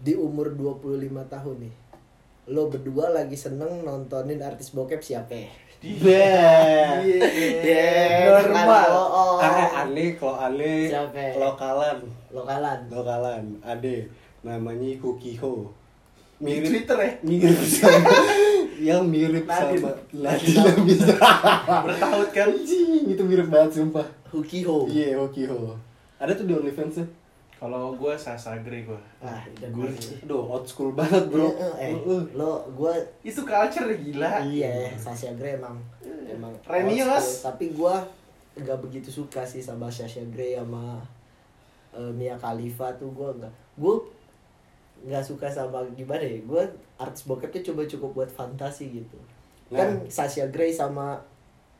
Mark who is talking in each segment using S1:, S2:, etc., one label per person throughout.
S1: di umur 25 tahun nih lo berdua lagi seneng nontonin artis bokep siapa
S2: Iya.
S3: Eh,
S1: Iya,
S2: Normal.
S1: tangan lo, oh.
S2: Ah, aneh kalau aneh.
S1: Siapa?
S2: Kalau kalan.
S1: lokalan
S2: Kalau kalan. Ade. Namanya Kukiho.
S3: Di Twitter ya?
S2: Mirip sama. yang mirip
S3: Nadine.
S2: sama. Nadine yang bisa.
S3: Bertaut kan?
S2: Anjing, itu mirip banget sumpah.
S1: Hukiho
S2: Iya, Kukiho. Ada tuh di OnlyFans
S3: Kalau gue sasagri gue.
S1: ah dan
S3: Gue-
S2: Aduh, old school banget bro.
S1: eh,
S2: Uh, uh.
S1: lo gue
S3: Itu culture gila.
S1: iya Sasha Grey emang
S2: Iya.
S1: emang
S3: Renius.
S1: old school. tapi gue nggak begitu suka sih sama Sasha Grey sama eh, Mia Khalifa tuh gue nggak gue nggak suka sama gimana ya gue artis bokep tuh coba cukup buat fantasi gitu
S2: Nah.
S1: kan Sasha Grey sama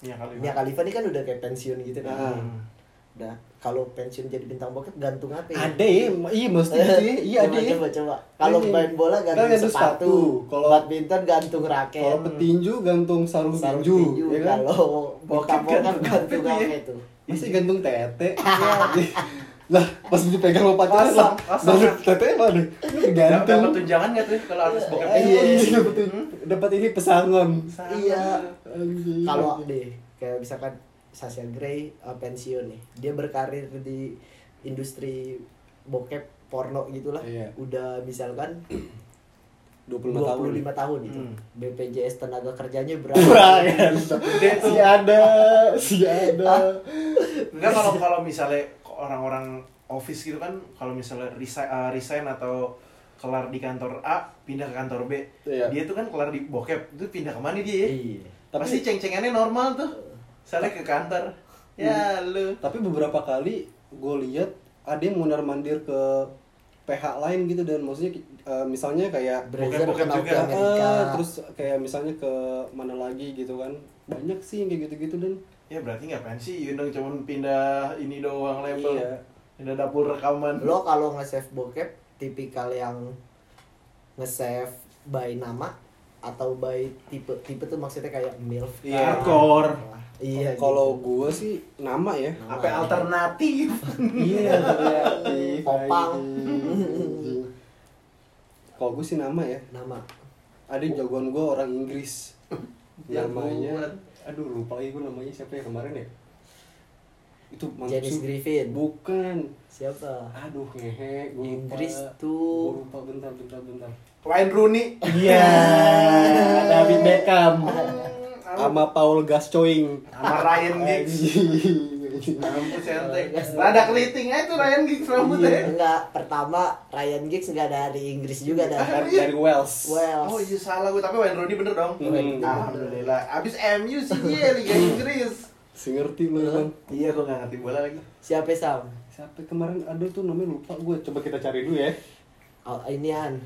S3: Ya kali.
S1: Mia Khalifa ini kan udah kayak pensiun gitu kan
S2: Ah.
S1: Nah, kalau pensiun jadi bintang bokep gantung apa ya?
S2: Ada ya, iya mesti gitu ya. Iya ada
S1: Eh, coba,
S2: ya.
S1: coba, coba. Kalau
S2: Iya.
S1: main bola gantung,
S2: Kan gantung sepatu.
S1: sepatu,
S2: Kalau-
S1: kalau badminton gantung raket.
S2: Kalau petinju gantung sarung
S1: Sarung
S2: tinju,
S1: tinju,
S2: ya kan?
S1: kalau
S3: Bokep
S1: bokep bokep
S3: gantung
S1: gantung
S3: apa ya?
S1: apa itu?
S2: Masih gantung tete.
S1: Iya.
S2: lah, pas dipegang sama pacarnya lah.
S3: Pasang, pasang.
S2: Baru tete mana?
S3: Dapat
S2: Gantung.
S3: dapat tunjangan nggak tuh kalau harus bokep? gitu?
S2: Iya,
S1: Iya.
S2: dapat dapat ini pesangon.
S3: Sama.
S1: Iya.
S2: Anjing.
S1: Kalau deh, kayak misalkan Sasha Grey uh, pensiun nih, dia berkarir di industri bokep porno gitulah.
S2: Iya.
S1: Udah misalkan
S2: 25 tahun.
S1: 25 tahun gitu.
S3: Hmm.
S1: BPJS tenaga kerjanya
S2: Kurang
S1: berapa?
S3: Gede tuh.
S2: Si ada, si ada.
S3: Enggak kalau kalau misalnya orang-orang office gitu kan kalau misalnya resign, eh, resign atau kelar di kantor A pindah ke kantor B
S2: Iya.
S3: dia tuh kan kelar di bokep itu pindah kemana dia ya
S1: Iya.
S2: Tapi-
S3: pasti ceng-cengannya normal tuh misalnya ke kantor ya lu
S2: Tapi beberapa kali gue lihat ada yang mondar mandir ke PH lain gitu dan maksudnya eh, misalnya kayak
S1: Brazier
S3: Bokep-bokep
S1: kenal
S3: juga.
S1: ke Amerika.
S2: Eh, terus kayak misalnya ke mana lagi gitu kan banyak sih yang kayak gitu-gitu dan
S3: ya berarti nggak pensiun dong cuman pindah ini doang level
S2: Iya.
S3: pindah dapur rekaman
S1: lo kalau nge-save bokep tipikal yang nge-save by nama atau by tipe tipe tuh maksudnya kayak milf kah?
S2: Iya.
S3: Hardcore.
S1: Wah, iya
S2: kalau gue sih nama ya
S3: apa alternatif
S2: iya
S1: Iya,
S2: kreatif,
S1: Popang.
S2: anjing. gitu. kalau gue sih nama ya
S1: gitu. nama
S2: ada jagoan gue orang Inggris namanya
S3: Jagoan.
S2: aduh lupa lagi gue namanya siapa ya kemarin ya itu mantap
S1: Janice
S2: sih.
S1: Griffin
S2: bukan
S1: siapa
S2: aduh ngehe gue lupa
S1: Inggris tuh.
S2: Gua lupa bentar bentar bentar
S3: Wayne Rooney
S2: Iya, David Beckham sama Paul Gascoigne.
S3: sama Ryan Giggs
S2: Anjing.
S3: Rambut santai. Rada keliting aja tuh Ryan Giggs rambutnya.
S1: Iya. enggak pertama Ryan Giggs enggak dari Inggris juga
S2: Dari,
S1: dari
S2: dari Wales.
S1: Wales
S3: Ah. Oh iya salah gue, tapi Wayne Rooney Iya, bener dong.
S2: Hmm.
S3: Alhamdulillah. Abis MU sih dia Liga Inggris.
S2: Si ngerti lu kan.
S3: Iya, gue gak ngerti bola lagi.
S1: siapa Sam
S2: Siapa kemarin ada tuh namanya lupa gue. Coba kita cari dulu ya.
S1: oh, inian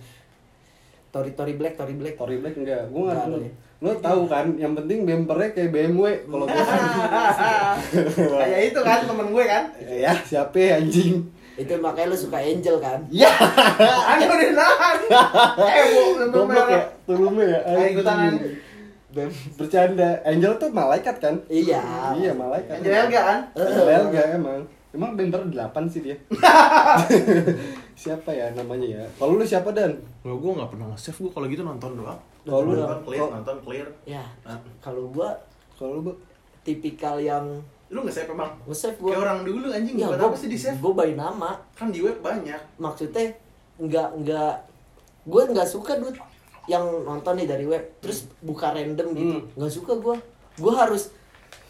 S1: Tori Tori Black Tori Black
S2: Tory Black enggak. Gue enggak
S1: Enggak
S2: tahu.
S1: ada ya.
S2: Lo tahu kan, yang penting bempernya kayak BMW kalau gue
S3: Kayak itu kan temen gue kan.
S2: ya siapa ya, anjing
S1: itu makanya lo suka Angel kan
S3: Iya.
S2: ya
S3: Anu udah nahan. Eh, bu, lembar
S2: goblok ya
S3: merah.
S2: tulumnya ya
S3: Ayo ikutan.
S2: anjing. bercanda Angel tuh malaikat kan
S1: Iya.
S2: iya malaikat
S3: Angel Elga kan?
S2: Bel gak emang? Emang bemper 8 sih dia. siapa ya namanya ya? Kalau lu siapa Dan?
S3: Gue gue gak pernah nge-save gue kalau gitu nonton doang.
S2: Kalau
S1: Oh,
S2: lu
S1: Nonton
S2: kalau
S3: nonton clear.
S1: ya kalau gua
S2: kalau lu Bu?
S1: tipikal yang
S3: Lu nge-save emang?
S1: nge-save gua
S3: Kayak orang dulu anjing,
S1: Ya,
S3: bukan
S1: gua,
S3: apa sih di-save?
S1: gua by nama
S3: Kan di web banyak.
S1: maksudnya nggak nggak gue nggak suka dude yang nonton nih dari web terus buka random gitu
S2: Hmm.
S1: nggak suka gua gua harus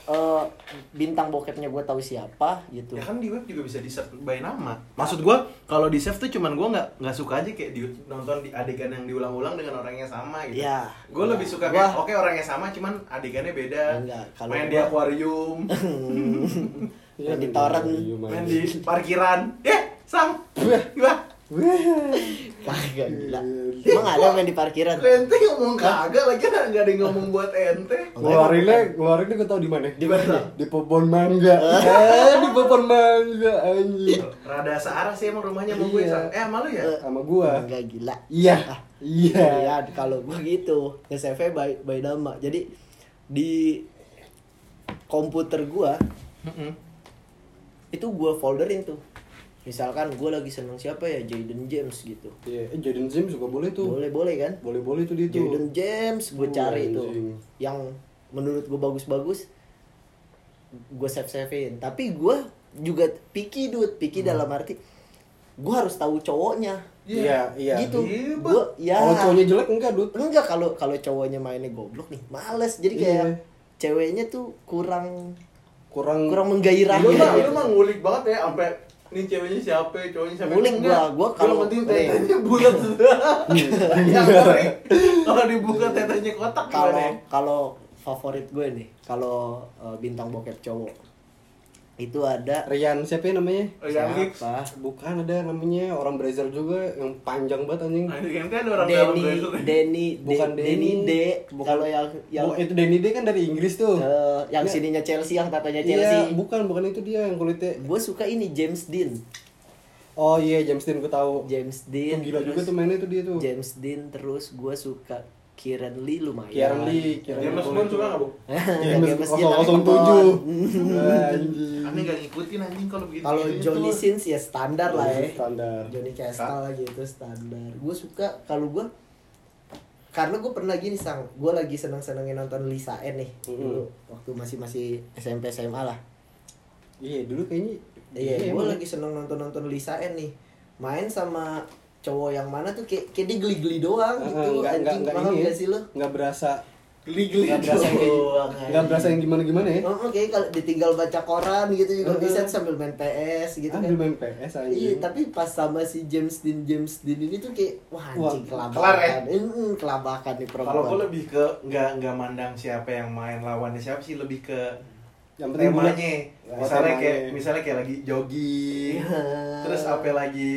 S1: eh, bintang bokepnya gua tahu siapa gitu
S3: Ya kan di web juga bisa di save by nama. Maksud gua kalau di save tuh cuman gua nggak nggak suka aja kayak di, nonton di adegan yang diulang-ulang dengan orangnya sama gitu.
S1: Iya.
S3: Gua lebih suka
S1: Gua- Ya,
S3: kayak oke orangnya sama cuman adegannya beda.
S1: Enggak, kalau gua-
S3: main di akuarium,
S1: Main Hmm. di torrent.
S2: Iya, main
S3: main
S2: di-
S3: di parkiran. Eh, sam. Gila.
S1: kagak gila emang ada main di parkiran
S3: Kok ente ngomong kagak lagi nggak ada yang ngomong buat ente.
S1: Oh,
S2: Ngeluarinnya, ngeluarinnya gue tau di mana?
S3: Di mana?
S2: Di pohon mangga. eh, di pohon mangga anjing.
S3: Rada searah sih emang rumahnya sama gue.
S2: Iya.
S3: Sam. Eh, malu ya?
S2: Sama gua.
S1: enggak gila
S2: Iya. Iya.
S1: Iya, kalau gue gitu, nge-save-nya by, by nama. Jadi di komputer gua itu gua folderin tuh. misalkan gue lagi seneng siapa ya Jaden James gitu
S2: Iya, eh, Jaden James juga boleh tuh. Oh,
S1: boleh boleh kan
S2: Boleh boleh tuh dia tuh.
S1: Jaden James gue
S2: Tuh,
S1: cari itu
S2: anjing.
S1: yang menurut gue bagus-bagus gue save savein tapi gue juga picky dude picky
S2: Hmm.
S1: dalam arti gue harus tahu cowoknya
S2: Iya, iya.
S1: gitu
S3: Iya,
S1: gue ya
S2: Kalau cowoknya jelek enggak, Dut.
S1: enggak kalau kalau cowoknya mainnya goblok nih males jadi kayak
S2: Iya.
S1: ceweknya tuh kurang
S2: Kurang Iya,
S1: kurang menggairahkan
S4: Lu mah
S1: gitu.
S4: lu mah ngulik banget ya sampai ini ceweknya siapa, cowoknya siapa.
S1: Ngulik
S4: Enggak.
S1: gua, gua
S4: Lu
S1: kalau- Iya.
S4: penting
S1: eh.
S4: tetenya bulat. Yang kering. Kalau dibuka tetenya kotak gimana
S1: kalau
S4: ya?
S1: kalau favorit gue nih kalau eh, bintang bokep cowok itu ada
S2: Rian siapa ya namanya?
S4: Oh, yang mix.
S1: siapa
S2: Bukan ada namanya orang Brazil juga yang panjang banget anjing.
S4: Nah, ini kan orang dalam
S1: Denny
S4: brand.
S1: Denny
S2: Bukan
S1: De- Denny D
S2: Denny. Bukan-
S1: kalau yang yang
S2: Oh, itu Danny D kan dari Inggris tuh.
S1: eh, yang
S2: Iya.
S1: sininya Chelsea yang tatanya
S2: Iya,
S1: Chelsea
S2: bukan bukan itu dia yang kulitnya.
S1: gue suka ini James Dean
S2: Oh iya, James Dean gue tahu.
S1: James
S2: Tuh
S1: Dean
S2: gila juga
S1: terus
S2: tuh mainnya tuh dia tuh.
S1: James Dean terus gue suka Kieran Lee lumayan
S2: Kieran Lee, Kieran Lee
S4: James
S2: boleh
S4: Bond
S2: tuh.
S4: suka nggak, Bu?
S2: James Oh,
S1: James Dean
S2: 007. Anjing.
S4: Aneh gak ngikutin anjing kalau begitu.
S1: Hmm. Kalau
S3: Gitu.
S1: Johnny Sins ya standar lah ya.
S2: Standar.
S1: Johnny Castle lah gitu standar. Gue suka kalau gue karena gue pernah gini sang, gue lagi seneng senengin nonton Lisa N nih dulu waktu masih masih SMP SMA lah.
S2: Iya, dulu kayaknya
S1: Iya, gue
S2: emang.
S1: lagi seneng nonton nonton Lisa N nih. Main sama cowok yang mana tuh kayak, kayak dia geli-geli doang
S2: Eh,
S1: gitu.
S2: nggak- nggak-
S1: anjing
S2: nggak
S1: paham
S2: ini ya.
S1: gak sih lo?
S2: nggak berasa
S4: geli-geli
S2: nggak berasa yang kayak-
S4: doang,
S2: nggak
S1: gitu.
S4: anjing.
S2: berasa yang gimana gimana ya
S1: Oh, Oke, kalau ditinggal baca koran gitu juga
S2: Eh,
S1: bisa
S2: eh.
S1: sambil main PS gitu kan.
S2: ambil main PS aja
S1: Iya, tapi pas sama si James Dean James Dean ini tuh kayak wah anjing
S2: Wah,
S1: kelabakan.
S3: kelar ya?
S1: Mm, kelabakan nih perempuan.
S3: Kalau gue lebih ke nggak nggak mandang siapa yang main lawannya siapa sih lebih ke
S2: yang penting bulat
S3: temanya.
S2: Oh,
S3: Misalnya
S2: temanya. Ah.
S3: kayak misalnya kayak lagi jogging,
S1: Iya.
S3: terus apa lagi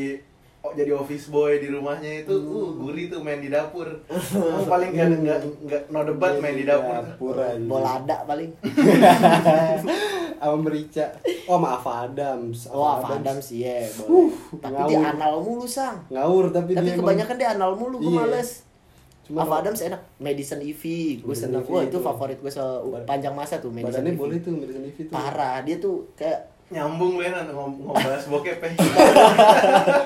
S3: oh, jadi office boy di rumahnya itu uh
S2: Hmm.
S3: gurih tuh main di dapur. Oh, paling nggak nggak nggak no debat
S2: Iya,
S3: main di dapur.
S2: Dapuran.
S1: bola ada paling.
S2: sama merica oh maaf Adams
S1: Wah, oh, Adam sih ya.
S2: Uh,
S1: tapi dia
S2: ngawur.
S1: anal mulu sang.
S2: ngawur tapi,
S1: Tapi
S2: dia emang-
S1: kebanyakan dia anal mulu, gue
S2: Iya.
S1: males.
S2: Cuma
S1: Ava
S2: kalau-
S1: Adams enak, Madison Ivy, gue
S2: Madison
S1: seneng.
S2: Ivy
S1: Wah itu
S2: itu.
S1: favorit gue sepanjang masa tuh Madison
S2: badannya
S1: Ivy.
S2: boleh tuh Madison Ivy tuh
S1: Parah, dia tuh kayak
S3: Nyambung lu ya nanti ngom- ngom- bahas bokep ya.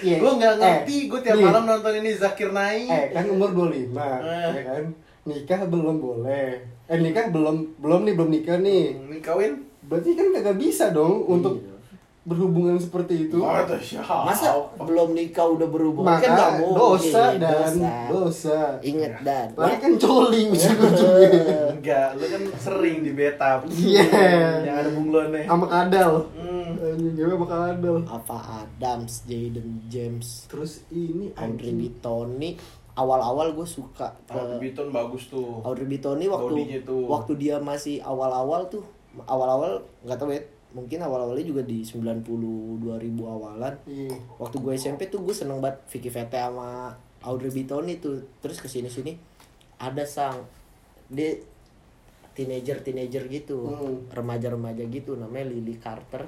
S2: Iya.
S3: Gue nggak
S2: Eh,
S3: ngerti, gue tiap
S2: nih.
S3: malam nonton ini Zakir
S2: eh
S3: Naik.
S2: kan umur 25
S3: Eh.
S2: ya kan nikah belum boleh eh nikah belum belum nih belum nikah nih
S3: Ini kawin?
S2: berarti kan nggak bisa dong
S1: Iya.
S2: untuk berhubungan seperti itu
S3: Oh, itu siapa?
S1: masa belum nikah udah berhubungan
S2: maka
S1: kan nggak mungkin.
S2: dosa dan
S1: Dosa.
S2: dosa.
S1: Ingat
S3: Ya.
S1: dan.
S2: Tapi kan gitu. coli ujung-ujungnya
S3: Enggak, lu kan sering di beta.
S2: Iya.
S3: Yang ada bunglonnya.
S2: sama kadal.
S3: Hmm.
S2: Anjing gue sama kadal.
S1: apa Adams, Jaden James,
S2: Terus ini
S1: Audrey
S2: anjing.
S1: Bitoni awal-awal gue suka ke
S3: Kalau Biton bagus tuh.
S1: Audrey Bitoni waktu
S3: Bodinya tuh.
S1: waktu dia masih awal-awal tuh awal-awal nggak tahu ya mungkin awal-awalnya juga di 90 2000 awalan
S2: Iya.
S1: waktu gue SMP tuh gue seneng banget Vicky Vete sama Audrey Bitoni tuh terus kesini sini ada sang dia teenager teenager gitu
S2: Hmm.
S1: remaja-remaja gitu namanya Lily Carter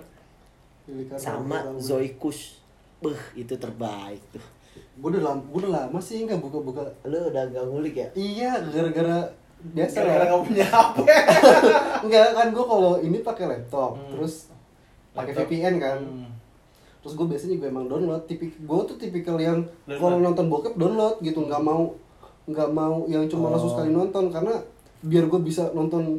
S2: Lili Karno,
S1: sama
S2: Karno.
S1: Zoe Kush Beuh, itu terbaik tuh
S2: Gue udah lama, gue udah lama sih nggak buka-buka.
S1: lu udah gak ngulik ya
S2: Iya, gara-gara biasa
S3: Gara-gara
S2: lah.
S3: nggak punya HP.
S2: Enggak kan gue kalau ini pakai laptop,
S3: Hmm.
S2: terus pakai
S3: Laptop.
S2: VPN kan.
S3: Hmm.
S2: Terus gue biasanya juga emang download. Tipik gue tuh tipikal yang
S3: Download.
S2: kalau nonton bokep download gitu, nggak mau nggak mau yang cuma
S3: Oh.
S2: langsung sekali nonton karena biar gue bisa nonton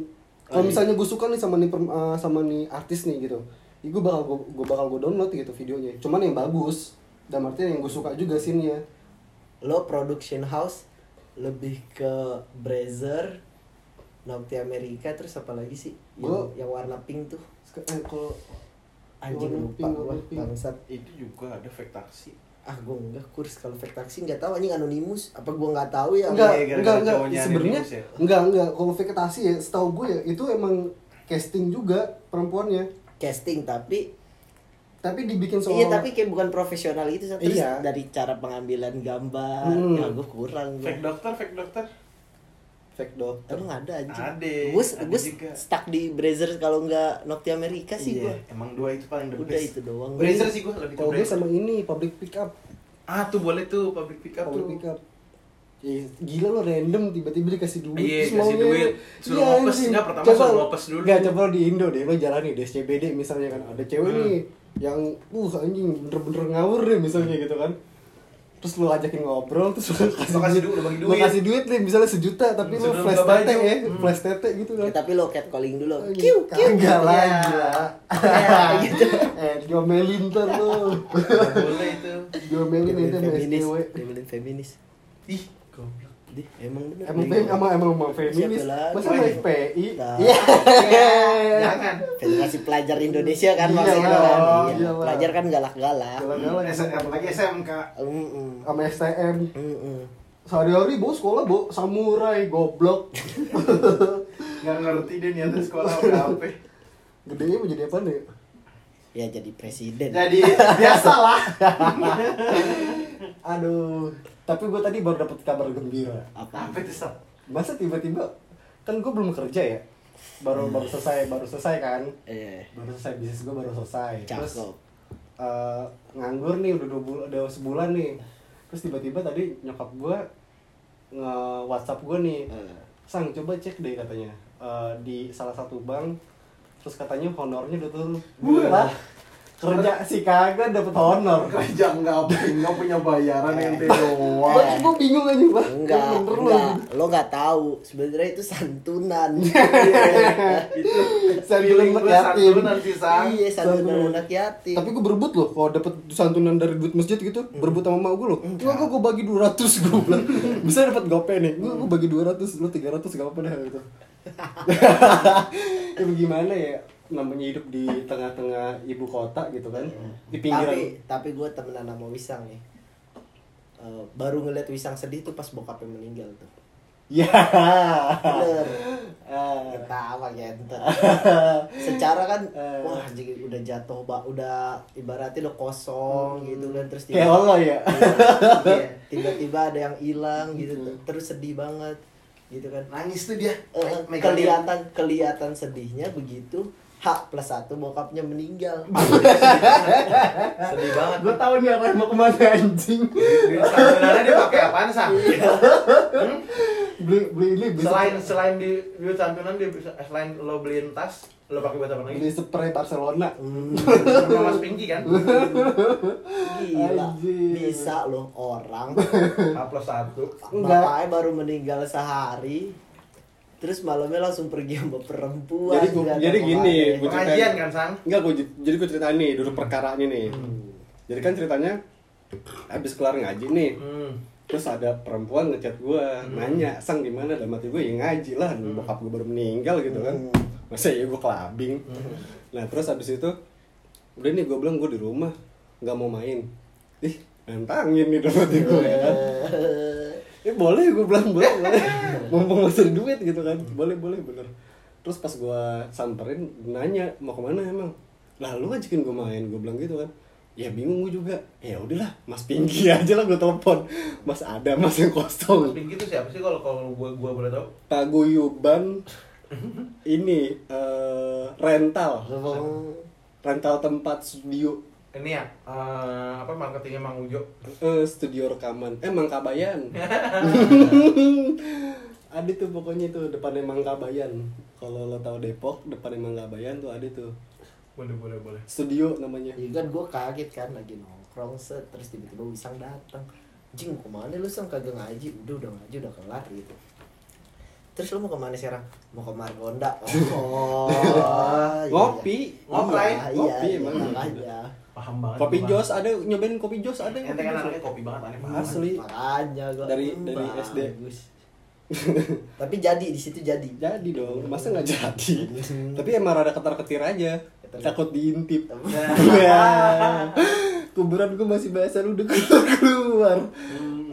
S3: Oh, iya.
S2: kalau misalnya gue suka nih sama nih perm- eh, sama nih artis nih gitu, gue bakal gue, bakal gue download gitu videonya. Cuman yang bagus dan artinya yang gue suka juga scene-nya.
S1: lo production house lebih ke Brazzer Nocte America terus apa lagi sih
S2: Gua-
S1: yang, yang warna pink tuh
S2: Sek- eh, kalau
S1: anjing
S2: Warna
S1: lupa
S2: pink,
S1: gua
S2: warna pink.
S1: bangsat
S3: Itu juga ada efek taksi.
S1: ah gua enggak kurs kalau fake taksi nggak tahu anjing anonimus apa gua nggak tahu ya
S2: enggak
S3: Iya, gara-gara
S2: enggak enggak
S3: cowoknya
S2: sebenarnya
S3: Anonymous ya?
S2: enggak enggak kalau vegetasi ya setahu gue ya itu emang casting juga perempuannya
S1: casting tapi
S2: tapi dibikin seolah
S1: iya tapi kayak bukan profesional gitu Sa. terus
S2: Iya.
S1: dari cara pengambilan gambar
S2: Hmm.
S1: ya gua kurang gua
S3: Fake dokter, fake dokter.
S2: fake dog
S1: Emang ada aja.
S3: Ada,
S1: Gue
S3: ada
S1: gue
S3: juga.
S1: stuck di Brazzer kalau nggak Nocte America sih gua.
S3: Iya, Emang dua itu paling the
S1: Udah
S3: best.
S1: itu doang.
S3: Bracer sih gue lebih ke
S2: Iya. kalau gue
S3: bracer.
S2: sama ini public pick up
S3: Ah tuh boleh tuh public pick up
S2: public
S3: tuh.
S2: pick up Ih, gila lo random tiba-tiba dikasih duit
S3: Iya,
S2: terus
S3: kasih
S2: maunya-
S3: duit. Suruh
S2: Iya,
S3: ngopes.
S2: anjing.
S3: Enggak, pertama
S2: Coba-
S3: suruh ngopes dulu.
S2: Enggak, coba lo di Indo deh lo jalani di SCBD misalnya kan ada cewek
S3: Hmm.
S2: nih yang uh anjing bener-bener ngawur deh misalnya gitu kan terus lu ajakin ngobrol terus lu
S3: Lu
S2: kasih,
S3: kasih duit, lu bagi
S2: lu
S3: duit.
S2: kasih duit nih misalnya sejuta tapi lu
S3: Sebelum
S2: flash
S3: nggak
S2: tete
S3: baju.
S2: ya flash tete gitu kan
S1: Ya, tapi lo catcalling dulu
S2: Anjing,
S1: kiu kiu Iya, gitu.
S2: kagak Iya. lah
S1: Ya.
S2: gila eh diomelin ntar lu
S3: Nggak boleh itu
S2: diomelin itu
S1: Dia
S2: sama
S1: feminis
S2: SJW
S1: dia bilang feminis
S3: ih goblok
S1: Dih, emang bener
S2: emang
S1: Dia
S2: fem emang emang emang feminis
S1: Siapa lagi?
S2: masa mau FPI
S1: Nah.
S2: iya
S1: Eh.
S3: jangan
S1: Federasi pelajar Indonesia kan
S2: Iya
S1: maksudnya
S2: lah,
S1: kan. Iya.
S2: iya lah.
S1: Pelajar kan galak-galak.
S2: jalan-jalan
S3: S- apalagi SMK
S1: Mm-mm.
S2: sama STM
S1: Mm-mm.
S2: sehari-hari bos sekolah bo samurai goblok
S3: nggak ngerti dia niatnya sekolah apa apa
S2: gedenya mau jadi apa nih
S1: Ya jadi presiden.
S3: jadi biasa lah
S2: aduh tapi gue tadi baru dapat kabar gembira
S1: Apa?
S3: apa itu sob
S2: masa tiba-tiba kan gue belum kerja ya baru baru selesai baru selesai kan
S1: Eh,
S2: baru selesai bisnis gue baru selesai terus
S1: cakep.
S2: eh, nganggur nih udah dua bulan udah sebulan nih terus tiba-tiba tadi nyokap gue nge WhatsApp gue nih
S1: Eh,
S2: sang coba cek deh katanya Eh, di salah satu bank terus katanya honornya udah turun
S3: Wah.
S2: Lah, kerja si kagak dapet honor
S3: kerja nggak punya punya bayaran yang doang
S2: Gua- gua bingung aja Wah,
S1: Enggak,
S2: bener lu.
S1: enggak. Lo nggak tahu. Sebenarnya itu santunan.
S3: Iya, itu
S2: Santunan
S3: feeling gue
S2: yatim.
S3: santunan sih sang
S1: iya,
S2: Santunan.
S1: santunan anak yatim.
S2: tapi gue berebut loh kalau dapet santunan dari duit masjid gitu
S1: Hmm.
S2: berebut sama emak gue loh cuma gue gue bagi 200 gue bilang bisa dapat gope nih gue gue bagi 200 lu 300 gak apa-apa deh gitu ya bagaimana ya namanya hidup di tengah-tengah ibu kota gitu kan di pinggiran
S1: Hmm. Tapi, tapi gue temenan sama Wisang nih. Eh, baru ngeliat Wisang sedih tuh pas bokapnya meninggal tuh.
S2: ya
S1: Bener.
S2: Ah.
S1: Ketawa genter. Secara kan,
S2: Eh.
S1: wah jadi udah jatuh, ba, udah ibaratnya udah kosong gitu kan terus
S2: kayak Allah Hmm. ya
S1: Iya, tiba-tiba ada yang hilang gitu terus sedih banget gitu kan
S3: nangis tuh dia
S1: Eh,
S3: Megang dia.
S1: kelihatan kelihatan sedihnya begitu H plus satu bokapnya meninggal
S3: sedih banget
S2: gue tahu nih arah mau kemana anjing
S3: Duit santunannya dia pakai apaan sang
S1: Iya.
S3: Hmm?
S2: beli beli ini beli
S3: selain selain di duit santunan dia bisa eh, selain lo beliin tas lo pakai buat apa
S2: beli
S3: lagi
S2: spray Barcelona
S3: sama mas Pinky kan
S1: gila
S2: Anjir.
S1: bisa loh orang
S3: A plus satu
S2: Enggak.
S1: bapaknya baru meninggal sehari terus malamnya langsung pergi sama perempuan
S2: Jadi gua-
S1: nggak
S2: jadi
S1: tahu
S2: gini,
S1: kemana.
S2: gua- Hmm.
S3: pengajian kan sang
S2: Enggak, gue jadi gue ceritain nih dulu perkaranya nih. Jadi kan ceritanya habis kelar ngaji nih,
S3: hmm.
S2: terus ada perempuan ngechat gue nanya, "Sang di mana?" Dalam hati gue ya ngaji lah, bokap gue baru meninggal gitu kan. Masa ya gue kelabing. Nah, terus habis itu udah nih gue bilang gue di rumah, nggak mau main. Ih, nantangin nih dalam hati gue ya kan. Ya boleh gue bilang boleh boleh. Mumpung masih ada duit gitu kan. Boleh boleh bener. Terus pas gue samperin nanya mau kemana emang. Lah lu ajakin gue main gue bilang gitu kan. Ya bingung gue juga. Ya udahlah Mas Pinky aja lah gue telepon. Mas ada Mas
S3: mas
S2: yang kosong.
S3: Pinky itu siapa sih kalau kalau gua gua boleh tahu
S2: Paguyuban ini eh, rental
S1: Oh,
S2: rental tempat studio
S3: ini ya eh, apa marketingnya Mang Ujo
S2: eh studio rekaman eh Mangkabayan ada tuh pokoknya tuh depannya Mangkabayan kalau lo tahu Depok depannya Mangkabayan tuh ada tuh
S3: boleh boleh boleh
S2: studio namanya
S1: Iya kan gue kaget kan lagi nongkrong set terus tiba-tiba Wisang datang. Jing kemana lu sang kagak ngaji? Udah udah ngaji udah kelar gitu. Terus lu mau kemana sekarang? Mau ke Margonda. Oh. iya.
S2: Ngopi.
S1: Ngopi.
S3: Ngopi.
S1: Iya,
S2: Oh, Ngopi,
S1: iya,
S2: emang.
S1: makanya.
S3: paham banget
S2: kopi
S3: gua.
S2: jos ada nyobain kopi jos ada
S3: ente kan anaknya kopi banget aneh banget
S2: Asli.
S1: Makanya gua
S2: Dari-
S1: hmm,
S2: dari SD.
S1: bagus. Tapi jadi di situ jadi.
S2: jadi dong masa nggak jadi tapi emang rada ketar ketir aja takut diintip
S3: Iya.
S2: Ya. kuburan gue masih bahasa lu udah keluar keluar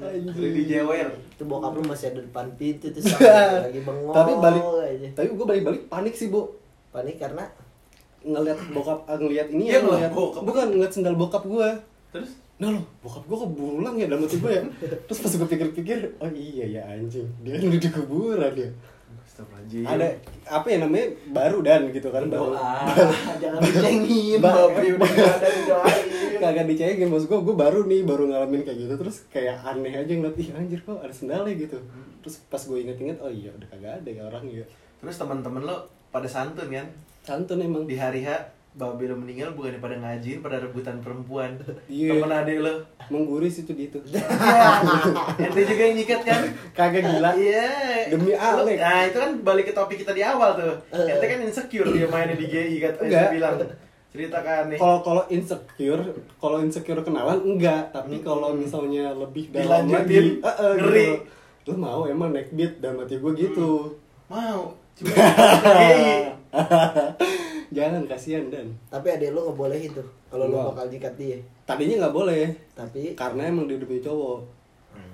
S3: Asli di Hmm, jewer
S1: Itu bokap lu masih ada depan pintu tuh sama lagi bengong.
S2: tapi balik
S1: aja.
S2: tapi gue balik balik panik sih bu
S1: Panik karena
S2: ngelihat bokap ah, ngelihat ini
S3: Iya,
S2: ya
S3: loh,
S2: ngelihat
S3: bokap.
S2: bukan ngelihat sendal bokap gua
S3: terus
S2: nah loh bokap gua kebulang ya dalam hati gua ya terus pas gua pikir-pikir oh iya ya anjing dia kan udah di kuburan ya
S1: Iya.
S3: Astagfirullahaladzim
S2: ada apa ya namanya baru dan gitu kan baru
S1: jangan dicengin.
S3: Babi udah nggak ada didoain.
S2: kagak dicengin maksud gua gua baru nih baru ngalamin kayak gitu terus kayak aneh aja ngeliat ih anjir kok ada sendalnya gitu terus pas gua inget-inget oh iya udah kagak ada ya orang ya
S3: Terus teman-teman lo pada santun
S1: Iya.
S3: kan?
S2: santun emang
S3: Di hari H babe lo meninggal bukan pada ngajiin pada rebutan perempuan
S2: Iya.
S3: temen adek lo
S2: mengguris itu dia tuh
S3: ente juga yang nyikat kan
S2: kagak gila
S3: iya
S2: Demi Alex.
S3: nah itu kan balik ke topik kita di awal tuh ente kan insecure dia mainnya di GI kan
S2: Enggak.
S3: ente bilang ceritakan nih
S2: kalau kalau insecure kalau insecure kenalan enggak tapi kalau misalnya lebih dalam
S3: Hmm. Dilanjutin,
S2: lagi, eh, eh,
S3: ngeri. Hmm.
S2: gitu. lu mau emang neckbeat dalam hati gue gitu
S3: mau cuma GI
S2: jangan kasihan dan
S1: Tapi adek lu ngebolehin tuh kalau lu
S2: Enggak.
S1: bakal nyikat dia.
S2: tadinya nggak boleh
S1: Tapi
S2: karena emang dia udah punya cowok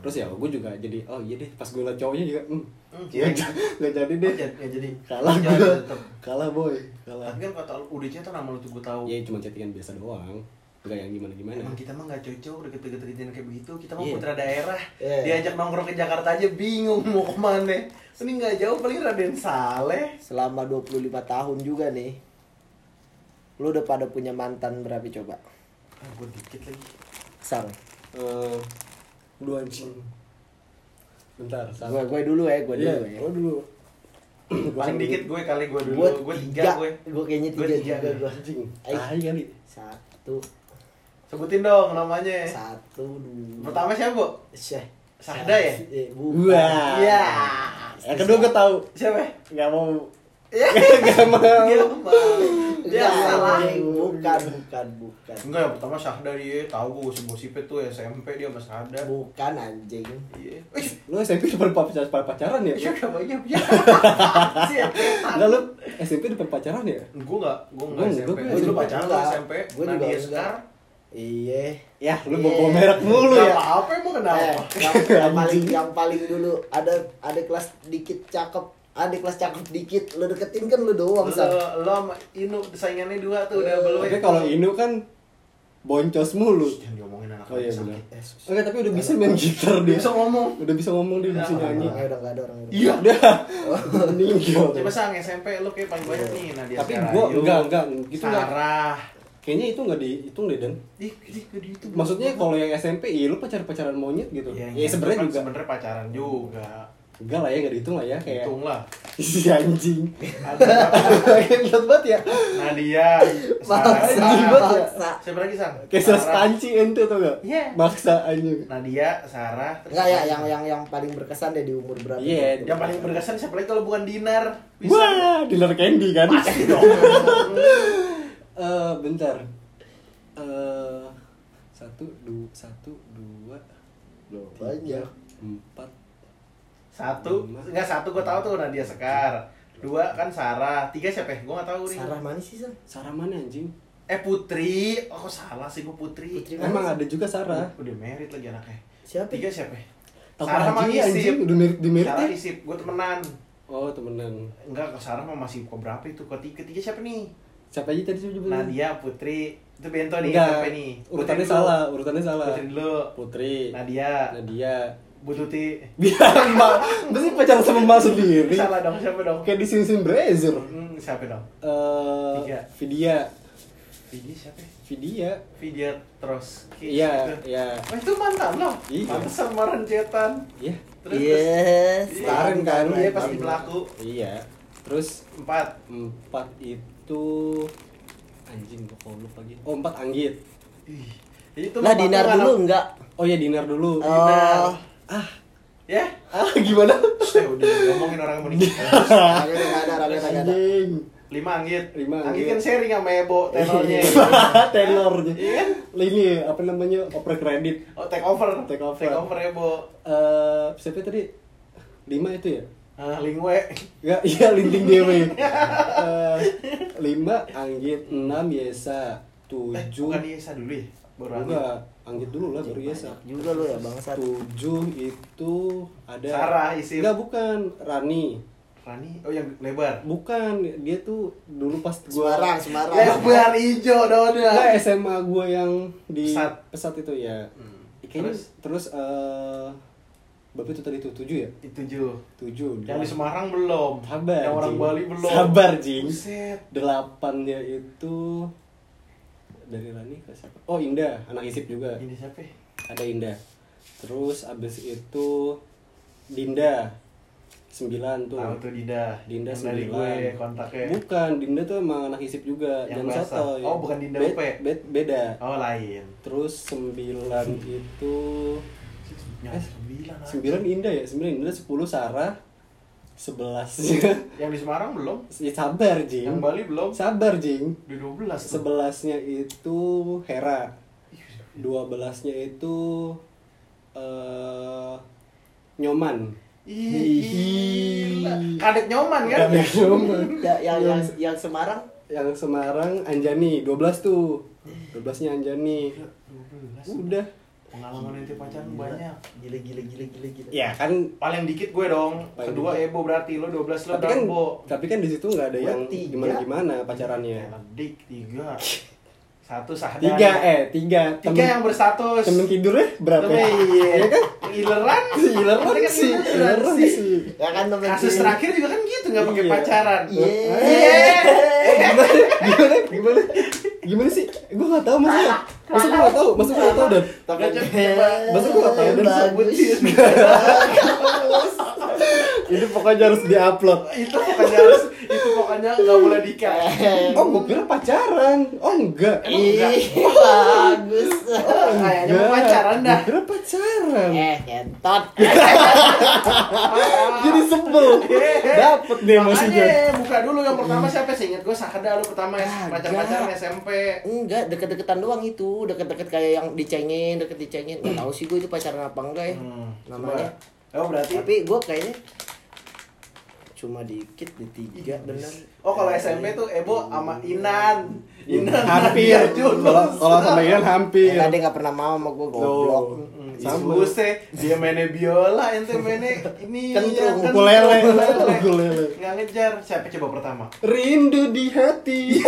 S2: terus ya gue juga jadi oh iya deh pas gue liat cowoknya juga hmm,
S3: Hmm,
S2: nggak j- nggak jadi deh
S3: Ya, ya jadi
S2: kalah
S3: ya,
S2: gue
S3: tetep.
S2: kalah boy kalah
S3: tapi kan kata UDC tuh nama lu tuh gue tahu
S2: ya cuma chattingan biasa doang nggak ya, yang gimana gimana
S3: Emang kita mah gak cocok deket deket kejadian kayak begitu Kita mah
S1: Iya.
S3: putra daerah
S1: Iya.
S3: Diajak nongkrong ke Jakarta aja bingung mau kemana Ini gak jauh paling Raden Saleh
S1: selama 25 tahun juga nih lu udah pada punya mantan berapa coba?
S3: ah, Gue dikit lagi
S1: Sang.
S2: Eh, dua anjing bentar
S1: Gue gue dulu ya, gue
S2: Iya,
S1: dulu ya.
S2: lo dulu
S3: Paling dikit gue kali gue dulu
S1: Gue
S3: Gue
S1: tiga,
S3: tiga gue
S1: gue kayaknya
S3: Gua
S1: tiga
S3: tiga. Ah.
S1: juga gue.
S2: anjing
S1: Ai.
S2: tai kali
S1: Satu,
S3: Sebutin dong namanya
S1: satu, dua.
S3: Eh. Pertama siapa? Bu?
S1: Syekh.
S3: Sahda ya?
S1: Eh, bukan.
S2: Wah.
S3: Iya.
S2: yang kedua gue tahu
S3: Siapa?
S2: nggak mau
S3: Ya
S2: Iya. nggak mau
S3: Dia apa? Dia
S1: Enggak,
S3: salah
S1: anjing. bukan, bukan, bukan.
S3: Enggak yang pertama Sahda dia tahu gue gosip-gosipnya tuh SMP dia sama Sahda
S1: Bukan anjing.
S3: Iya Ih,
S2: lo SMP depan pacaran pacaran ya
S3: siapa namanya? Ya.
S2: Enggak lu SMP depan pacaran ya
S3: Gue gak, gue
S2: Gua
S3: gak
S2: enggak,
S3: SMP
S2: gua
S3: Gue dulu
S1: juga
S3: pacaran
S1: enggak.
S3: lah SMP
S1: Gua juga
S3: Nadia
S1: enggak.
S3: Sekar
S1: Iya.
S2: ya lu
S1: Iya.
S2: mau bawa merek mulu
S3: Gak
S2: ya
S3: apa-apa emang
S1: Eh,
S3: kenapa?
S1: yang, yang paling yang paling dulu ada ada kelas dikit cakep, ada kelas cakep dikit, lu deketin kan lu doang,
S3: Lo,
S1: Sang.
S3: lo sama Inu saingannya dua tuh udah
S1: Eh,
S3: belum
S2: tapi kalau Inu kan boncos mulu
S3: Jangan diomongin anak
S2: oh iya
S3: sakit.
S2: benar
S1: Eh, sus-
S2: Oke, tapi udah bisa main gitar
S3: Dia
S2: dia.
S3: bisa Iya. ngomong
S2: Udah bisa ngomong dia, udah bisa
S1: Orang
S2: nyanyi.
S1: orangnya udah gak ada orang.
S2: Iya, udah. Meninggal.
S3: Coba sang SMP lo kayak paling banyak nih Nah, Nadia
S2: Iya. Tapi
S3: Sekar
S2: gua
S3: Ayu,
S2: enggak enggak gitu enggak.
S3: Sarah
S2: Kayaknya itu enggak dihitung deh dan.
S3: Ih, ih, gue di YouTube.
S2: Maksudnya kalau yang SMP, iya lu pacar-pacaran monyet gitu.
S3: Iya,
S2: Ya,
S3: iya, kan
S2: sebenarnya juga
S3: sebenarnya pacaran juga
S2: enggak lah ya, enggak dihitung lah ya kayak
S3: Hitung lah
S2: si anjing.
S3: Ada berapa?
S2: Kayak banget ya.
S3: Nadia
S1: Maksa,
S2: Anjing
S3: Sarah
S2: banget ya.
S1: maksa.
S3: Siapa lagi sang? Sarah,
S2: Kayak selas panci ente tuh enggak?
S3: Iya.
S2: Maksa anjing.
S3: Nadia, Sarah terus
S1: Enggak ya,
S3: siapa?
S1: yang yang yang paling berkesan deh di umur berapa?
S2: Iya,
S3: Yang paling berkesan siapa lagi kalau bukan Dinar?
S2: Wah, dealer candy kan.
S3: Pasti dong.
S2: Eh, bentar. Eh, satu, dua, satu, dua,
S1: Loh,
S2: tiga,
S3: Iya.
S1: banyak.
S2: empat.
S3: satu, enggak satu gue tahu tuh Nadia Sekar. Dua kan Sarah, tiga siapa ya? Gue gak tahu nih.
S1: Sarah mana sih, Sang?
S2: Sarah mana anjing?
S3: Eh Putri, oh kok salah sih gue Putri.
S1: Putri
S2: Emang ada juga Sarah.
S3: Udah merit lagi anaknya.
S1: Siapa?
S3: Tiga siapa? ya?
S2: Tahu
S3: Sarah mah
S2: anjing, anjing
S3: ngisip.
S2: udah merit di merit
S3: Sarah
S2: ya?
S3: isip, gue temenan.
S2: Oh, temenan.
S3: Enggak, ke Sarah mah masih ke berapa itu? Ketiga, ketiga siapa nih?
S2: Siapa aja tadi sebelumnya?
S3: Nadia, Putri. Itu Bento nih,
S2: Hmm. Enggak,
S3: SMP nih. Putri
S2: Urutannya
S3: dulu.
S2: salah, urutannya salah.
S3: Putri dulu.
S2: Putri,
S3: Nadia,
S2: Nadia.
S3: Bututi.
S2: Biar mbak, mesti pacaran sama mbak sendiri.
S3: Salah dong, siapa dong?
S2: Kayak di sini Brazier.
S3: Hmm, siapa dong?
S2: Eh,
S3: Tiga.
S2: Vidya,
S3: Ini siapa ya?
S2: Vidya.
S3: Vidya Trotsky
S2: Iya,
S3: gitu.
S2: iya.
S3: Wah itu mantan loh
S2: Iya.
S3: Pantesan kemarin cetan
S2: Iya.
S1: Yes,
S3: terus-
S2: Kemarin kan.
S3: Iya pas di pelaku
S2: Iya. Terus
S3: Empat
S2: empat itu anjing gua kalau lupa gitu. Oh, empat anggit.
S3: Ih, Itu
S1: Lah dinar
S3: mantan
S1: dulu
S3: anak-
S1: enggak?
S2: Oh ya dinner dulu.
S1: Oh.
S3: Dinar.
S2: Ah,
S3: Ya
S2: ah gimana?
S3: Terus deh, udah ngomongin orang yang mau nikah
S1: Rangga udah nggak ada, Rangga udah nggak ada.
S2: Anjing.
S3: Lima anggit
S2: Lima
S3: Anggit
S2: anggit. Iya.
S3: kan sharing sama Ebo tenornya Iya.
S2: Tenornya. Ini apa namanya? Oper kredit.
S3: Oh take over
S2: Take over.
S3: Take over ya, Ebo
S2: Eh, siapa tadi? Lima itu ya?
S3: Ah, Lingwe
S2: Ya, iya linting dewe. Eh, lima anggit, enam yesa,
S3: Eh
S2: tujuh.
S3: bukan Yesa dulu ya Baru anggit
S2: Enggak, anggit dulu lah baru yesa.
S1: Juga lu ya bangsa.
S2: Tujuh itu ada
S3: Iya. Sarah, Isim.
S2: Enggak bukan Rani.
S3: Rani Oh yang lebar
S2: Bukan, dia tuh dulu pas
S1: Semarang,
S2: gua Nah,
S1: Semarang.
S3: Lebar hijau
S2: Enggak,
S3: Doda
S2: SMA gua yang di
S3: Pesat.
S2: pesat itu ya.
S3: Hmm.
S2: Kayaknya
S3: Terus?
S2: terus eh Bapak itu tadi tuh tujuh ya?
S3: Tujuh
S2: Tujuh.
S3: Yang
S2: dua.
S3: di Semarang belum.
S2: Sabar.
S3: Yang orang
S2: Jing.
S3: Bali belum.
S2: Sabar, Jing.
S3: Buset.
S2: Delapannya itu dari Rani ke siapa? Oh, Indah, anak isip juga.
S3: Ini siapa? ya?
S2: Ada Indah. Terus abis itu Dinda. Sembilan tuh.
S3: Tahu tuh Dinda.
S2: Dinda
S3: Yang dari gue
S2: sembilan.
S3: kontaknya.
S2: Bukan, Dinda tuh emang anak isip juga.
S3: Yang
S2: Jangan
S3: basah.
S2: sotoy.
S3: Oh, bukan Dinda
S2: Be-
S3: UP.
S2: be- beda.
S3: Oh, lain.
S2: Terus sembilan itu
S3: Yang sembilan. ah. anjing.
S2: Eh, sembilan Indah ya, sembilan Indah, sepuluh Sarah, sebelas.
S3: Yang di Semarang belum?
S2: ya sabar jing.
S3: Yang Bali belum?
S2: Sabar jing.
S3: Di 12 tuh.
S2: Sebelasnya itu Hera. Dua belasnya itu eh Nyoman.
S3: Ih, gila. Kadet nyoman kan?
S2: Kadet Nyoman.
S1: Ya, yang, yang, yang Semarang
S2: Yang Semarang Anjani, 12 tuh. 12-nya Anjani.
S3: 12.
S2: Udah.
S3: Pengalaman inti pacaran banyak.
S1: gila gila gila gila gila.
S2: Ya kan
S3: Paling dikit gue dong.
S2: Paling
S3: Kedua Ebo berarti lo 12 lo
S2: tapi kan
S3: Darbo.
S2: tapi kan di situ nggak ada
S1: Gua
S2: yang
S1: tiga.
S2: gimana-gimana pacarannya.
S3: Dik tiga. Satu sahdari.
S2: Tiga eh tiga
S3: Tiga
S2: Temen-
S3: yang berstatus.
S2: temen ya? tidurnya berapa?
S3: Tapi, iya kan? Ileran.
S2: Ileran
S3: Tapi kan
S2: sih,
S3: ileran
S2: ileran
S3: sih.
S2: sih.
S1: Ya kan temen
S3: Kasus
S1: sih.
S3: terakhir juga kan gitu nggak pakai
S2: Iya.
S3: pacaran.
S1: Iya.
S2: gimana gimana gimana sih gue nggak tahu maksudnya maksud gue nggak tahu maksud gue nggak tahu dan
S3: Tapi
S1: Tapi
S3: coba
S2: Maksud Iya. gua apa ya, dan
S1: bagus.
S2: ini pokoknya harus diupload
S3: itu pokoknya harus itu pokoknya nggak boleh nikah.
S2: oh gue kira pacaran oh enggak
S1: Ih, bagus.
S3: Kayaknya mau Ah, ya, pacaran dah. Iya.
S2: Gua kira pacaran
S1: Eh, kentot.
S2: jadi sebel
S3: Iya.
S2: dapet deh maksudnya
S3: Makanya buka dulu yang pertama siapa sih? Ingat gue Sakda lu pertama ya,
S1: Kagak.
S3: pacar-pacaran SMP.
S1: Enggak, deket-deketan doang itu. Deket-deket kayak yang dicengin, deket dicengin. Nggak tahu sih gue itu pacaran apa enggak ya.
S3: Hmm,
S1: Namanya.
S3: coba. Oh berarti
S1: Tapi gue kayaknya cuma dikit di tiga bener. Iya.
S3: Oh kalau SMP tuh Ebo sama Inan. Inan Iya,
S2: hampir kalau
S3: Kalau
S2: kalau sama Ian hampir
S1: Ya, dia nggak pernah mau sama gue goblok.
S2: Loh. Sama.
S3: Sama teh dia mainnya biola, ente mainnya ini
S1: Kentrung,
S3: ya,
S2: ukulele.
S3: ukulele.
S2: Ukulele.
S3: Nggak ngejar. Siapa coba pertama?
S2: Rindu di hati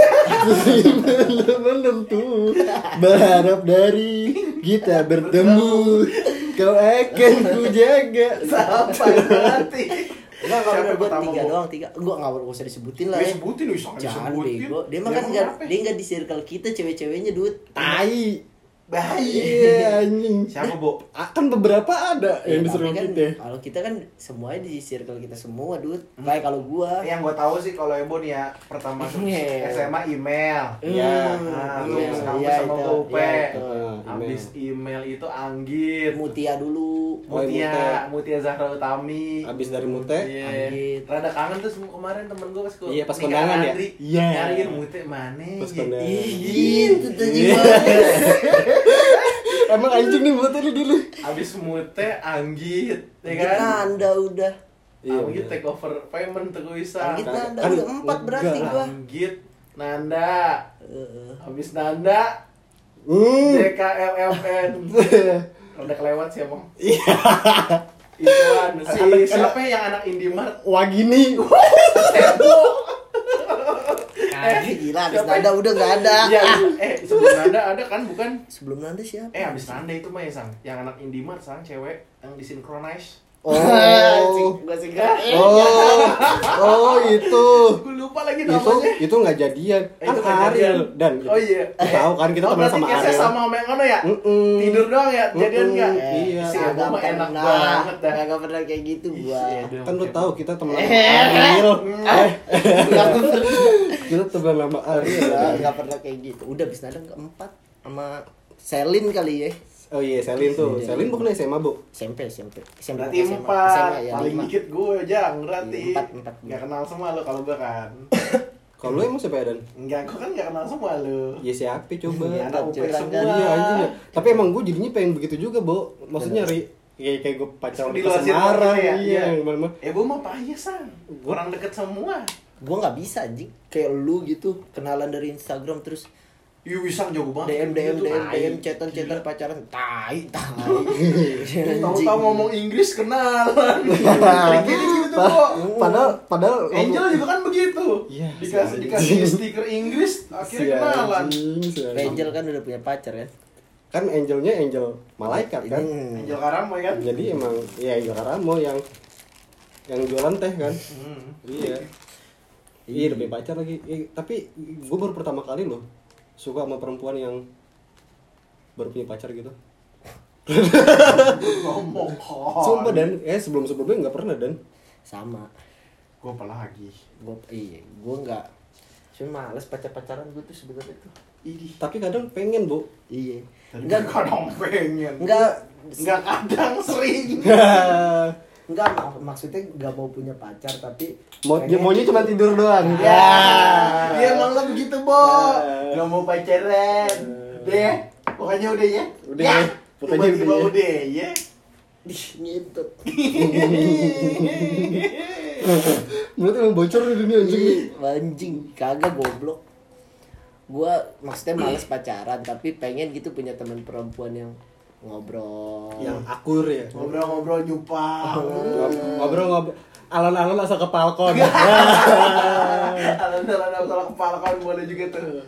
S2: menentu Berharap dari kita bertemu Kau akan ku jaga
S3: Sampai mati.
S1: Enggak, kalau
S3: Siapa
S1: menurut gue
S3: pertama,
S1: tiga
S3: Bo?
S1: doang, tiga. Gue nggak perlu usah disebutin lah
S3: Gue
S1: ya.
S3: sebutin, wih, sangat
S1: Jangan
S3: disebutin.
S1: bego. Dia mah kan
S3: Emang
S1: nggak,
S3: kenapa?
S1: dia nggak di circle kita cewek-ceweknya duit.
S2: Tai
S3: Bahaya.
S2: Iya anjing
S3: Siapa, Bo?
S2: Akan beberapa ada
S3: Iya,
S1: Ya,
S2: yang disuruh gitu
S1: tapi kan,
S2: kita
S1: Kalau kita kan semuanya di circle kita semua duit.
S3: Hmm.
S1: Kayak kalau gue.
S3: Yang gue tahu sih kalau Ebo nih ya pertama tuh
S1: Email.
S3: SMA email.
S2: Iya.
S3: Nah, lu
S2: Email.
S3: kamu
S1: Iya, Iya,
S3: sama
S1: itu.
S3: gue UP.
S1: Iya, itu.
S2: Nah,
S3: Abis
S2: email.
S3: email itu Anggit.
S1: Mutia dulu.
S2: Oh,
S3: Mutia, Mutia Zahra Utami.
S2: Abis dari Mute,
S3: Iya.
S1: Anggit.
S3: Rada kangen tuh sem- kemarin temen gue pas gua
S2: Iya, pas
S3: nikahan
S2: kondangan ya?
S3: Andri.
S2: Iya.
S3: Nyariin Mute mana?
S2: Pas
S3: ya?
S2: kondangan.
S3: Ih,
S1: Gitu tuh
S2: Iya.
S1: gimana?
S2: Emang anjing nih buat lu dulu
S3: Abis Mute Anggit, ya
S1: Anggit
S3: kan?
S1: nanda udah.
S2: Iya,
S3: Anggit take over payment tuh Isa.
S1: Anggit nanda
S2: Kagak. Kan
S1: udah empat
S2: enggak
S1: berarti
S2: lah.
S1: gue.
S3: Anggit, Nanda.
S1: Eh,
S3: Abis Nanda,
S2: Hmm.
S3: DKLMN. Rada kelewat sih emang. Ituan si
S2: Iya. Anak-
S3: siapa yang anak Indimart?
S2: Wagini
S1: Anjir gila, abis nanda udah nggak ada.
S2: Ah,
S3: Iya, eh sebelum Nanda ada kan bukan?
S1: Sebelum nanda siapa?
S3: Eh abis Nanda itu mah ya sang, yang anak Indimart sang cewek yang disinkronize.
S2: Oh
S1: Gue sih nggak-
S2: Oh Oh itu
S3: Gue lupa lagi
S2: itu
S3: namanya.
S2: itu nggak jadian
S3: Eh,
S2: kan
S3: itu nggak
S2: Ariel
S3: jadian.
S2: dan
S3: Oh iya.
S2: tahu kan kita
S3: oh,
S2: teman
S3: berarti
S2: sama
S3: case-nya
S2: Ariel
S3: sama sama yang ono ya?
S2: Mm-mm.
S3: Tidur doang ya, jadian
S2: Mm-mm.
S3: enggak?
S2: Iya.
S3: Si Ebo
S1: Kagak
S3: mah enak
S1: pernah.
S3: banget dah. Iya,
S1: Kagak pernah kayak gitu gua.
S2: kan lu tahu kita teman sama
S1: Eh.
S2: Ariel eh
S3: ya. Iya,
S1: Nggak pernah.
S2: kita teman sama ya. Ariel
S1: Nggak- nggak pernah kayak gitu. Udah abis nanda keempat sama Selin kali ya.
S2: oh iya Selin tuh Selin bukan SMA bu
S1: SMP, SMP. SMP
S3: Berarti
S1: SMA,
S3: empat,
S1: SMA, ya,
S3: paling
S1: lima.
S3: dikit gue jang berarti.
S1: Empat, empat.
S3: Gak kenal semua lo kalau gue kan. Iya.
S2: kalau lu emang siapa ya dan
S3: Enggak, gue kan gak kenal semua lo.
S2: ya siapa coba
S3: Ya, anak UP
S1: Curan
S3: semua.
S1: kan.
S2: iya anjing ya tapi emang gue jadinya pengen begitu juga bu maksudnya nyari kayak kayak gue pacaran
S3: Di
S2: di
S3: luar circle
S2: Semarang
S3: gitu ya? Iya.
S2: iya yang mana
S3: Ebo mah payah sang, orang deket semua.
S1: Gua nggak bisa anjing kayak lu gitu kenalan dari Instagram terus
S3: Iya, sang jago
S1: DM DM
S3: banget. Gitu,
S1: DM
S3: tai.
S1: DM chatan chatan pacaran tai tai.
S3: Tahu-tahu
S1: Anjing.
S3: ngomong Inggris kenalan. Kayak gitu tuh, Bo.
S2: padahal padahal
S3: Angel juga kan begitu.
S2: Iya,
S3: dikasih
S2: si
S3: dikasih
S2: anjing.
S3: stiker Inggris
S2: Si
S3: akhirnya kenalan.
S2: Iya, anjing, si anjing.
S1: Angel kan udah punya pacar kan.
S2: kan angelnya angel malaikat kan
S1: Hmm.
S3: Angel Karamo ya kan.
S2: jadi emang ya angel karamo yang yang jualan teh kan
S3: Hmm.
S2: iya iya lebih pacar lagi Iya, tapi gue baru pertama kali loh suka sama perempuan yang baru punya pacar gitu
S3: Ngomong kok.
S2: Oh, iya. sumpah dan eh sebelum sebelumnya nggak pernah dan
S1: sama
S3: Gue apa lagi?
S1: gue iya gue nggak cuma males pacar pacaran gue tuh sebenarnya tuh
S3: Idih.
S2: Tapi kadang pengen, Bu.
S1: iya
S3: Tadi
S1: Nggak-
S2: kan-
S3: gua kadang pengen.
S1: nggak
S3: Nggak kadang sering.
S2: Ya.
S1: nggak mak- maksudnya nggak mau punya pacar tapi
S2: Mau
S1: pengen-
S2: dia maunya cuma tidur doang.
S3: Ya, dia emang lo begitu, Bo.
S2: Ya.
S3: Nggak mau pacaran. Udah ya? Pokoknya udah ya?
S2: Udah
S3: Ya.
S2: ya? Pokoknya
S3: Tiba-tiba
S2: udah ya?
S3: udah ya?
S1: Ih, ngintip
S2: Menurut emang bocor di dunia anjing. nih.
S1: Ih, Iya, anjing kagak goblok gue maksudnya males pacaran tapi pengen gitu punya teman perempuan yang ngobrol
S2: Yang akur ya.
S3: Ngobrol-ngobrol nyupang.
S2: Oh. Ngobrol-ngobrol alon-alon asal ke Falcon.
S3: Alon-alon salah kepala kan boleh juga tuh.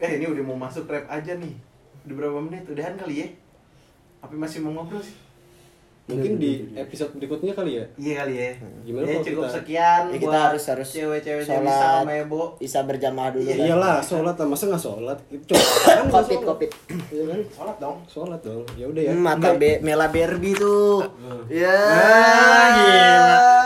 S3: Eh, ini udah mau masuk rap aja nih. Udah berapa menit? Udahan kali ya? Apa masih mau ngobrol sih?
S2: Mungkin di episode berikutnya kali ya.
S3: Iya kali ya.
S2: Gimana
S3: ya,
S2: kalau
S3: cukup
S2: kita-
S3: sekian
S1: Ya, kita
S3: buat
S1: harus harus
S3: cewek-cewek
S1: sholat,
S3: bisa sama ya, Bo.
S1: Isa berjamaah dulu kan.
S2: Iya, Iyalah, sholat lah. masa nggak sholat? Itu kan nggak
S1: Covid,
S2: sholat.
S1: Covid.
S2: Iya kan?
S3: Sholat dong.
S2: Sholat dong. Ya udah ya.
S1: Hmm, Mata be Mela Berbi tuh. Ya.
S2: Ah.